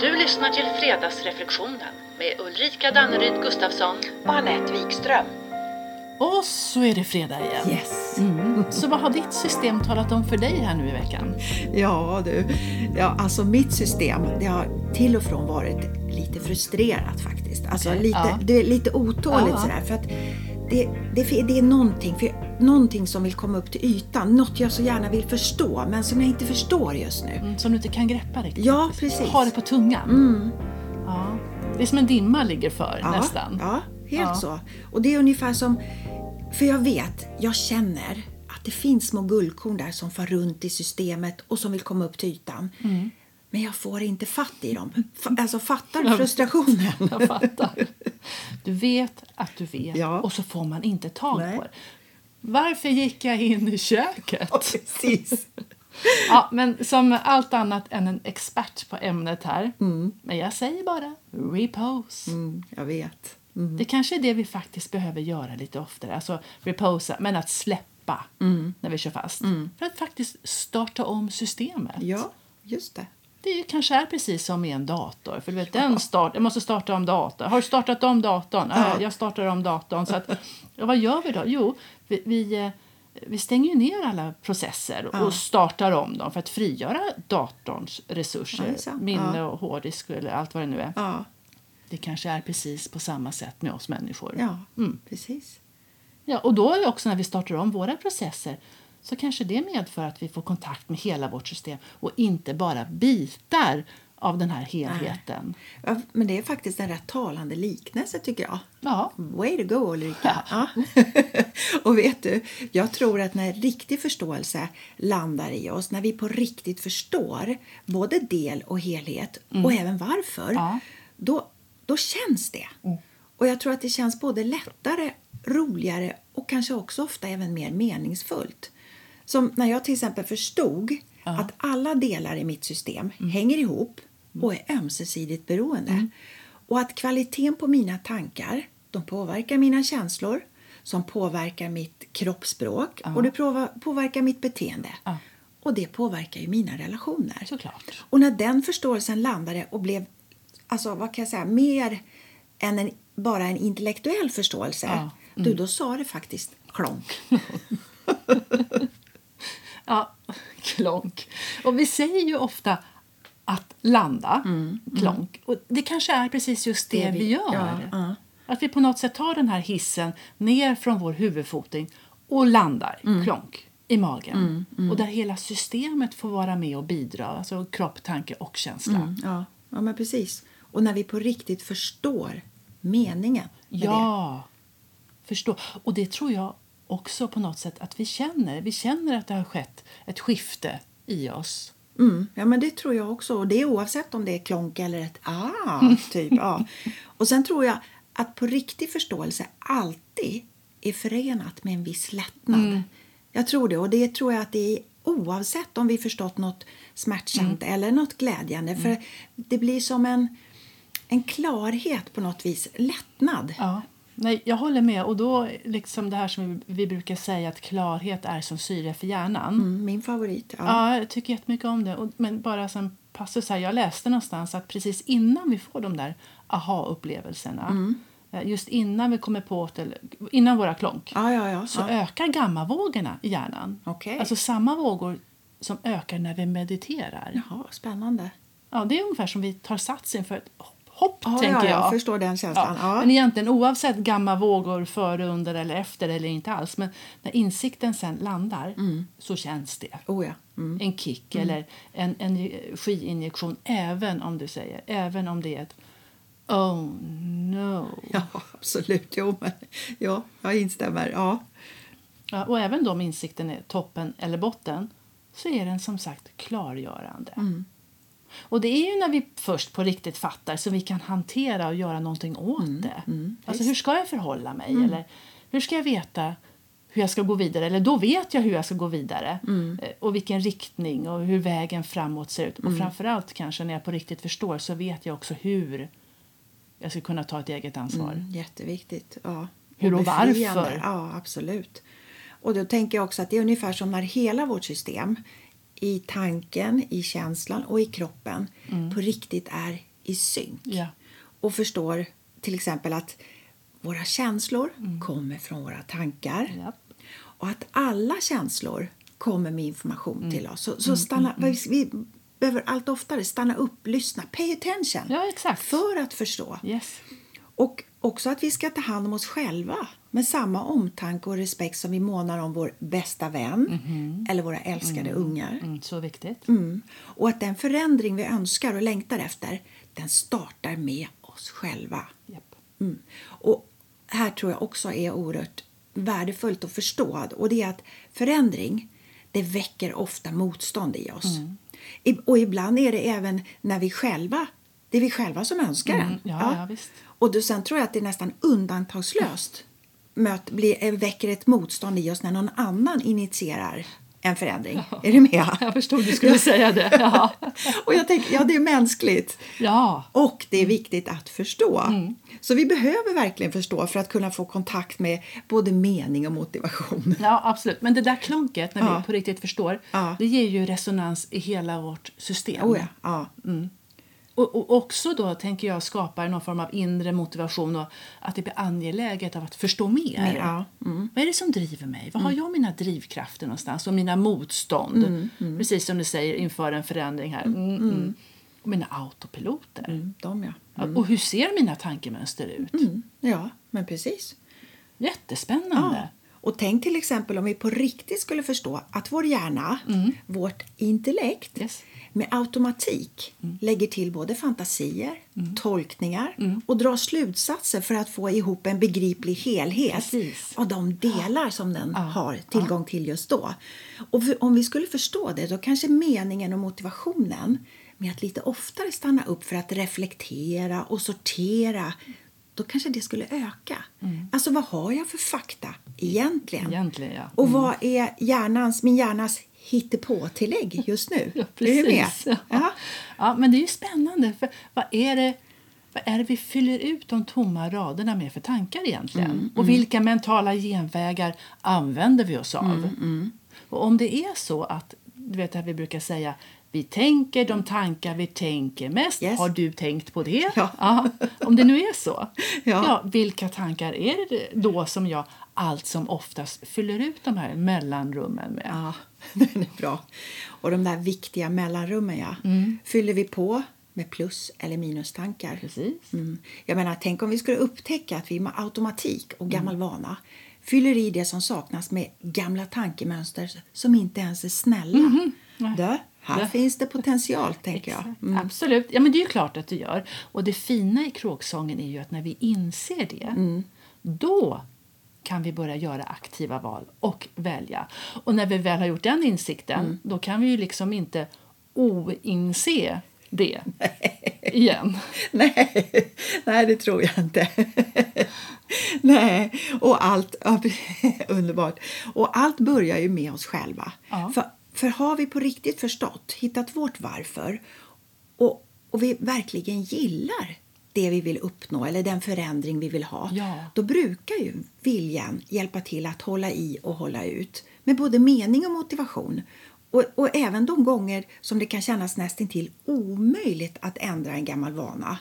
Du lyssnar till Fredagsreflektionen med Ulrika Danneryd Gustafsson. och Anette Wikström. Och så är det fredag igen. Yes. Så vad har ditt system talat om för dig här nu i veckan? Ja du, ja, alltså mitt system det har till och från varit lite frustrerat faktiskt. Alltså Okej, lite, ja. det är lite otåligt Ja. sådär för att det, det, fi- det är någonting, för, någonting som vill komma upp till ytan, något jag så gärna vill förstå men som jag inte förstår just nu. Som du inte kan greppa riktigt? Ja, precis. Har det på tungan? Mm, Ja. Det är som en dimma ligger för ja, nästan. Ja, helt Ja. så. Och det är ungefär som, för jag vet, jag känner att det finns små guldkorn där som far runt i systemet och som vill komma upp till ytan. Mm. Men jag får inte fatt i dem. Fa- Alltså fattar du frustrationen? Jag fattar. Du vet att du vet Ja. och så får man inte tag Nej. på det. Varför gick jag in i köket? Precis. Ja, men som allt annat än en expert på ämnet här. Men jag säger bara repose. Mm, jag vet. Det kanske är det vi faktiskt behöver göra lite oftare. Alltså reposa, men att släppa när vi kör fast. För att faktiskt starta om systemet. Ja, just det. Det är- kanske är precis som i en dator. För du vet, den start, jag måste starta om datorn. Har du startat om datorn? Ja. jag startar om datorn. Så att, ja, vad gör vi då? Jo, vi, vi, eh, vi stänger ju ner alla processer och startar om dem för att frigöra datorns Ja, resurser. det är sant. minne och hårddisk eller allt vad det nu är. Ja, Det kanske är precis på samma sätt med oss människor. ja Mm. precis. Ja, och då är det också när vi startar om våra processer så kanske det medför att vi får kontakt med hela vårt system och inte bara bitar av den här helheten. Ja, men det är faktiskt en rätt talande liknelse tycker jag. Ja, Way to go Ulrika! Ja. och vet du, jag tror att när riktig förståelse landar i oss, när vi på riktigt förstår både del och helhet och även varför, Mm. Ja. då, då känns det. Mm. Och jag tror att det känns både lättare, roligare och kanske också ofta även mer meningsfullt. Som när jag till exempel förstod att alla delar i mitt system Mm. hänger ihop och är ömsesidigt beroende. Och att kvaliteten på mina tankar, de påverkar mina känslor som påverkar mitt kroppsspråk och det påva- påverkar mitt beteende. Ja. Och det påverkar ju mina relationer. såklart. Och när den förståelsen landade och blev, alltså vad kan jag säga, mer än en, bara en intellektuell förståelse. Ja, mm. Du, då sa det faktiskt klonk. Ja, klonk. Och vi säger ju ofta att landa, klonk. Och det kanske är precis just Mm, det, Det vi- vi gör. ja, ja. Att vi på något sätt tar den här hissen ner från vår huvudfoting och landar, klonk, i magen. Och där hela systemet får vara med och bidra, alltså kropp, tanke och känsla. Ja, ja, men precis. Och när vi på riktigt förstår meningen med Ja, förstå. Och det tror jag också på något sätt att vi känner. Vi känner att det har skett ett skifte i oss. det. Mm, ja, men det tror jag också. Och det är oavsett om det är klonk eller ett ah, typ. ja. Och sen tror jag att på riktig förståelse alltid är förenat med en viss lättnad. Jag tror det. Och det tror jag att det är oavsett om vi förstått något smärtsamt eller något glädjande. För det blir som en, en klarhet på något vis. Lättnad. Ja. Nej, jag håller med. Och då liksom det här som vi brukar säga att klarhet är som syre för hjärnan. Mm, min favorit. Ja. Ja, jag tycker jättemycket om det. Och, men bara som passus här, jag läste någonstans att precis innan vi får de där aha-upplevelserna, Mm. eh, just innan vi kommer på, att- eller innan våra klonk, Ja, ja, ja. så ja. ökar gammavågorna i hjärnan. Okej. Alltså samma vågor som ökar när vi mediterar. Jaha, spännande. Ja, det är ungefär som vi tar sats inför ett hopp, hopp Ja, tänker ja, jag jag. förstår den känslan. Ja. Men egentligen oavsett gamma vågor före, under eller efter eller inte alls. Men när insikten sen landar så känns det. Oh ja. Mm. En kick eller en energiinjektion även om du säger, även om det är ett oh no. Ja, absolut. Jo, men, ja, jag instämmer. Ja. Ja, och även då om insikten är toppen eller botten så är den som sagt klargörande. Och det är ju när vi först på riktigt fattar som vi kan hantera och göra någonting åt det. alltså hur ska jag förhålla mig? Eller hur ska jag veta hur jag ska gå vidare? Eller då vet jag hur jag ska gå vidare. Eh, Och vilken riktning och hur vägen framåt ser ut. Och framförallt kanske när jag på riktigt förstår så vet jag också hur jag ska kunna ta ett eget ansvar. Mm, Jätteviktigt. Ja. Hur och varför? befriande. Ja, absolut. Och då tänker jag också att det är ungefär som när hela vårt system i tanken, i känslan och i kroppen på riktigt är i synk Mm. Ja. och förstår till exempel att våra känslor Mm. kommer från våra tankar Japp. och att alla känslor kommer med information Mm. till oss. Så, så stanna, vi, vi behöver allt oftare stanna upp, lyssna, pay attention Ja, exakt. för att förstå. Yes. Och också att vi ska ta hand om oss själva med samma omtanke och respekt som vi månar om vår bästa vän eller våra älskade ungar. Mm, så viktigt. Mm. Och att den förändring vi önskar och längtar efter, den startar med oss själva. Japp. Mm. Och här tror jag också är oerhört värdefullt att förstå. Och det är att förändring, det väcker ofta motstånd i oss. Mm. I- Och ibland är det även när vi själva, det är vi själva som önskar Mm, den. ja, ja, visst. Och då, sen tror jag att det är nästan undantagslöst möt, blir, eh, väcker ett motstånd i oss när någon annan initierar en förändring. Är du med? Jag förstod du skulle säga det. Ja. Och jag tänker, ja det är mänskligt. ja. Mm. Och det är viktigt att förstå. Så vi behöver verkligen förstå för att kunna få kontakt med både mening och motivation. Ja, absolut. Men det där klunket, när Ja. vi på riktigt förstår, Ja. det ger ju resonans i hela vårt system. Oh ja, ja. och, och också då, tänker jag, skapar någon form av inre motivation och att det blir angeläget av att förstå mer. Mer, ja. Mm. Vad är det som driver mig? Var har jag mina drivkrafter någonstans? Och mina motstånd? Mm, Precis som du säger, inför en förändring här. Mm, mm. Och mina autopiloter. Mm, de ja. Ja, Och hur ser mina tankemönster ut? Mm. Ja, men precis. Jättespännande. Och tänk till exempel om vi på riktigt skulle förstå att vår hjärna, vårt intellekt, Mm. Yes. Mm. med automatik lägger till både fantasier, tolkningar Mm. och drar slutsatser för att få ihop en begriplig helhet Precis. av de delar som den har tillgång till just då. Och för, om vi skulle förstå det, då kanske meningen och motivationen med att lite oftare stanna upp för att reflektera och sortera, då kanske det skulle öka. Alltså, vad har jag för fakta egentligen? Mm. Egentligen, ja. Mm. Och vad är hjärnans, min hjärnas hittepå-tillägg just nu? Ja, Är du med? precis. Ja. Ja. Ja, men det är ju spännande. För vad, är det, vad är det vi fyller ut de tomma raderna med för tankar egentligen? Mm, Och vilka mentala genvägar använder vi oss av? Mm, Och om det är så att, du vet det här vi brukar säga, vi tänker de tankar vi tänker mest. Yes. Har du tänkt på det? Ja. Om det nu är så. Ja. vilka tankar är det då som jag allt som oftast fyller ut de här mellanrummen med? ja, den är bra. Och de där viktiga mellanrummen, ja. Mm. Fyller vi på med plus eller minustankar? Precis. Mm. Jag menar, tänk om vi skulle upptäcka att vi med automatik och gammal Mm. vana fyller i det som saknas med gamla tankemönster som inte ens är snälla. Dö, här Mhm. Dö. finns det potential, tänker jag. Exakt. Alltså, Absolut. Ja, men det är ju klart att du gör. Och det fina i kråksången är ju att när vi inser det, Mm. då kan vi börja göra aktiva val och välja. Och när vi väl har gjort den insikten, Mm. då kan vi ju liksom inte oinse det igen. Nej, nej, det tror jag inte. nej, och allt... ja, Underbart. Och allt börjar ju med oss själva. Ja. För, för har vi på riktigt förstått, hittat vårt varför och, och vi verkligen gillar det vi vill uppnå eller den förändring vi vill ha, Ja. då brukar ju viljan hjälpa till att hålla i och hålla ut med både mening och motivation. Och, och även de gånger som det kan kännas nästintill omöjligt att ändra en gammal vana.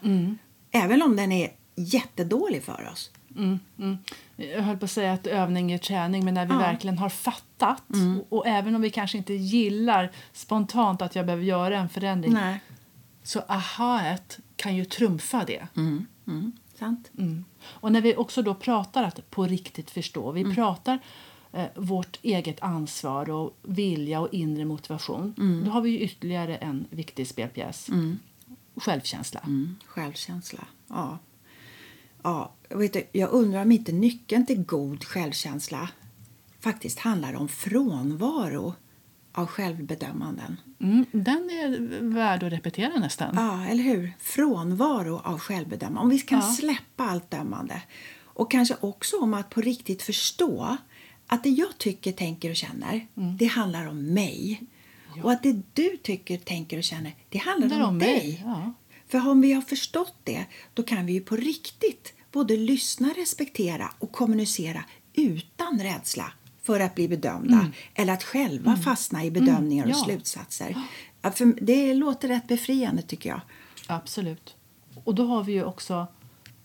Även om den är jättedålig för oss. Mm, mm. Jag höll på att säga att övning är träning, men när vi Ja. Mm. verkligen har fattat och, och även om vi kanske inte gillar spontant att jag behöver göra en förändring, Nej. så ahaet kan ju trumfa det. Sant? Mm. Och när vi också då pratar att på riktigt förstå, vi pratar eh, vårt eget ansvar och vilja och inre motivation. Då har vi ju ytterligare en viktig spelpjäs. Självkänsla. Mm. Självkänsla. Ja. ja jag vet du, jag undrar om inte nyckeln till god självkänsla faktiskt handlar om frånvaro av självbedömanden. Mm. Den är värd att repetera nästan. Ja, eller hur? Frånvaro av självbedömande. Om vi kan släppa allt dömande. Och kanske också om att på riktigt förstå att det jag tycker, tänker och känner, Mm. det handlar om mig. Och att det du tycker, tänker och känner, det handlar Det handlar om, om mig, dig. ja. För om vi har förstått det, då kan vi ju på riktigt både lyssna, respektera och kommunicera utan rädsla för att bli bedömda eller att själva fastna i bedömningar Mm, och ja. slutsatser. Ja, för det låter rätt befriande tycker jag. Absolut. Och då har vi ju också,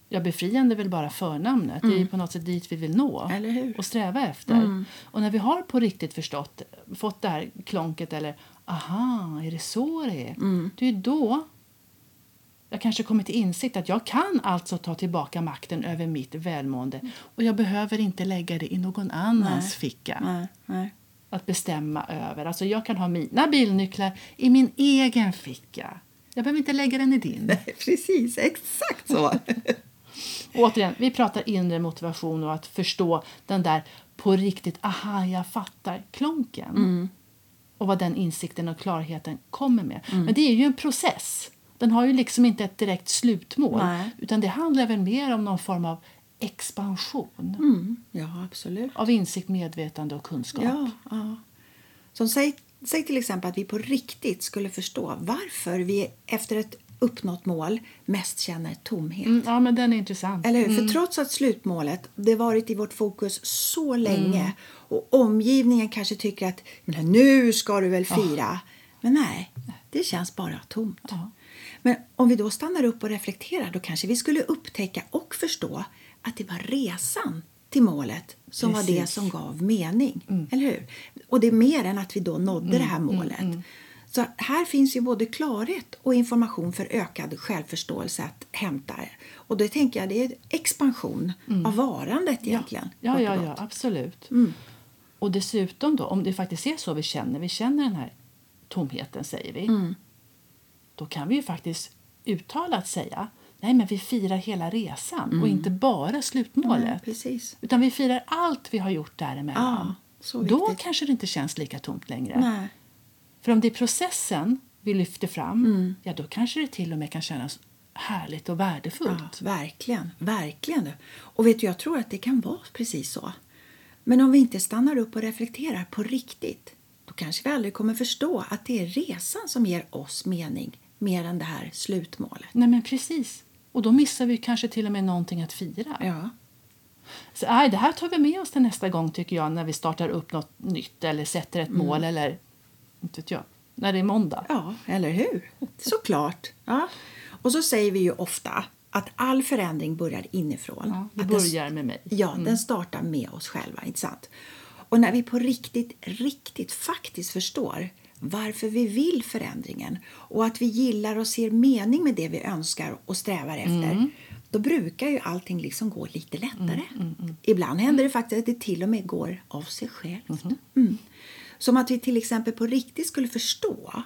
ja befriande är väl bara förnamnet, det är ju på något sätt dit vi vill nå Mm. Eller hur? Mm. och sträva efter. Och när vi har på riktigt förstått, fått det här klonket eller aha, är det så det är? Mm. Det är ju då jag kanske kommit till insikt att jag kan alltså ta tillbaka makten över mitt välmående och jag behöver inte lägga det i någon annans ficka Mm. Nej, nej. att bestämma över. Alltså jag kan ha mina bilnycklar i min egen ficka. Jag behöver inte lägga den i din. Precis, exakt så. Och återigen, vi pratar inre motivation och att förstå den där på riktigt, aha, jag fattar, klonken. Mm. Och vad den insikten och klarheten kommer med. Mm. Men det är ju en process. Den har ju liksom inte ett direkt slutmål. Nej. Utan det handlar väl mer om någon form av expansion Mm, ja, absolut. av insikt, medvetande och kunskap. Ja, ja. Som säg, säg till exempel att vi på riktigt skulle förstå varför vi efter ett uppnått mål mest känner tomhet. Mm, ja, men den är intressant. Eller hur? För trots att slutmålet det varit i vårt fokus så Mm. länge och omgivningen kanske tycker att "Men nu ska du Ah. väl fira. Men nej, det känns bara tomt. Ja. Men om vi då stannar upp och reflekterar då kanske vi skulle upptäcka och förstå att det var resan till målet som var det Precis. som gav mening. Mm. Eller hur? Och det är mer än att vi då nådde det här målet. mm. Så här finns ju både klarhet och information för ökad självförståelse att hämta. Och det tänker jag det är expansion av varandet egentligen. Mm. Ja, kort ja, ja, och gott. Mm. absolut. Och dessutom då, om det faktiskt är så vi känner, vi känner den här tomheten säger vi, Mm. då kan vi ju faktiskt uttalat säga nej men vi firar hela resan och inte bara Mm. Nej, slutmålet. Precis. utan vi firar allt vi har gjort däremellan. Ja, så då viktigt. kanske det inte känns lika tomt längre. Nej. För om det är processen vi lyfter fram, Mm. ja då kanske det till och med kan kännas härligt och värdefullt. Ja, verkligen, verkligen. Och vet du, jag tror att det kan vara precis så. Men om vi inte stannar upp och reflekterar på riktigt, då kanske vi aldrig kommer förstå att det är resan som ger oss mening mer än det här slutmålet. Nej men precis. Och då missar vi kanske till och med någonting att fira. Ja, Så, nej, det här tar vi med oss till nästa gång tycker jag när vi startar upp något nytt eller sätter ett Mm. mål eller inte vet jag, när det är måndag. ja eller hur? Såklart. Ja. Och så säger vi ju ofta att all förändring börjar inifrån. Ja, det Att den- börjar med mig. Mm. Ja, den startar med oss själva. Inte sant? Och när vi på riktigt, riktigt faktiskt förstår varför vi vill förändringen och att vi gillar och ser mening med det vi önskar och strävar efter Mm. då brukar ju allting liksom gå lite lättare. mm, Ibland händer det faktiskt att det till och med går av sig självt. Mhm. Mm. Som att vi till exempel på riktigt skulle förstå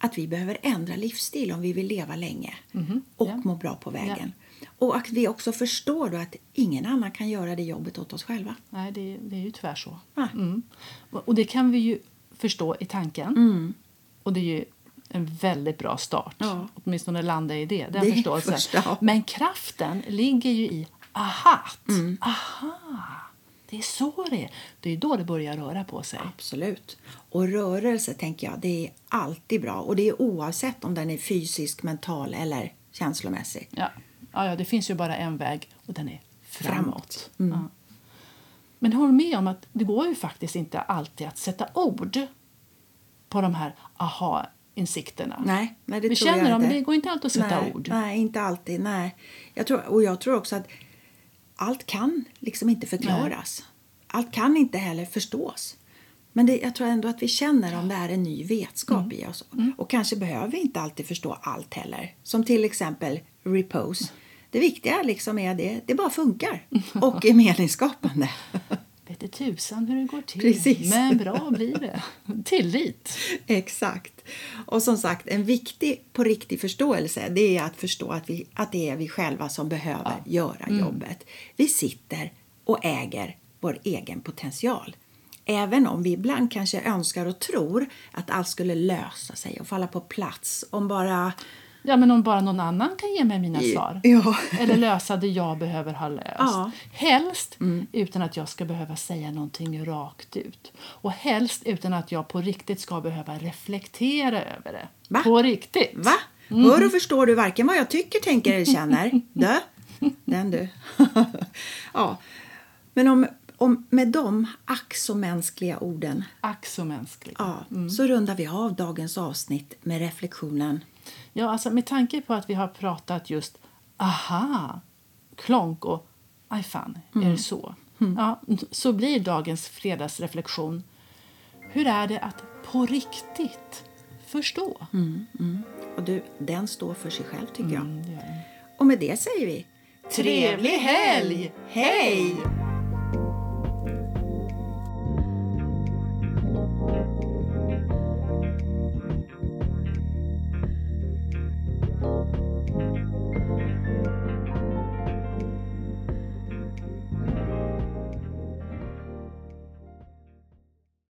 att vi behöver ändra livsstil om vi vill leva länge och Mhm. Ja. må bra på vägen. Och att vi också förstår då att ingen annan kan göra det jobbet åt oss själva. Nej, det, det är ju tyvärr så. Nej. Mm. Och och det kan vi ju förstå i tanken. Och det är ju en väldigt bra start. Mm. Ja. Åtminstone landa i det, den Det är förståelsen. första, ja. Men kraften ligger ju i aha, Mm. aha, det är så det är. Det är ju då det börjar röra på sig. Absolut. Och rörelse tänker jag, det är alltid bra. Och det är oavsett om den är fysisk, mental eller känslomässig. Ja. Ja, ja, det finns ju bara en väg och den är framåt. Framåt. Mm. Ja. Men håll med om att det går ju faktiskt inte alltid att sätta ord på de här aha-insikterna. Nej, nej det Vi tror känner jag dem, men inte. det går inte alltid att sätta nej, ord. Nej, inte alltid. Nej. Jag tror, och jag tror också att allt kan liksom inte förklaras. Allt kan inte heller förstås. Men det, jag tror ändå att vi känner om det är en ny vetskap Mm. i oss. Och kanske behöver vi inte alltid förstå allt heller. Som till exempel repose. Det viktiga liksom är det, det bara funkar och är meningsskapande. Vet du tusan hur det går till, Precis. men bra blir det. Tillit. Exakt. Och som sagt, en viktig på riktig förståelse det är att förstå att, vi, att det är vi själva som behöver göra jobbet. Vi sitter och äger vår egen potential. Även om vi ibland kanske önskar och tror att allt skulle lösa sig och falla på plats om bara... Ja, men om bara någon annan kan ge mig mina svar. Ja. Eller lösa det jag behöver ha löst. Ja. Mm. Helst utan att jag ska behöva säga någonting rakt ut. Och helst utan att jag på riktigt ska behöva reflektera över det. Va? På riktigt. Va? Hör och förstår du varken vad jag tycker, tänker eller känner? Dö? Den du. ja. Men om, om med de ack så mänskliga orden Ack så mänskligt. Ja, så rundar vi av dagens avsnitt med reflektionen. Ja, alltså med tanke på att vi har pratat just aha, klonk och aj fan, är Mm. det så? Ja, så blir dagens fredagsreflektion hur är det att på riktigt förstå? Och du, den står för sig själv tycker jag. det gör den. Och med det säger vi Trevlig helg! Hej!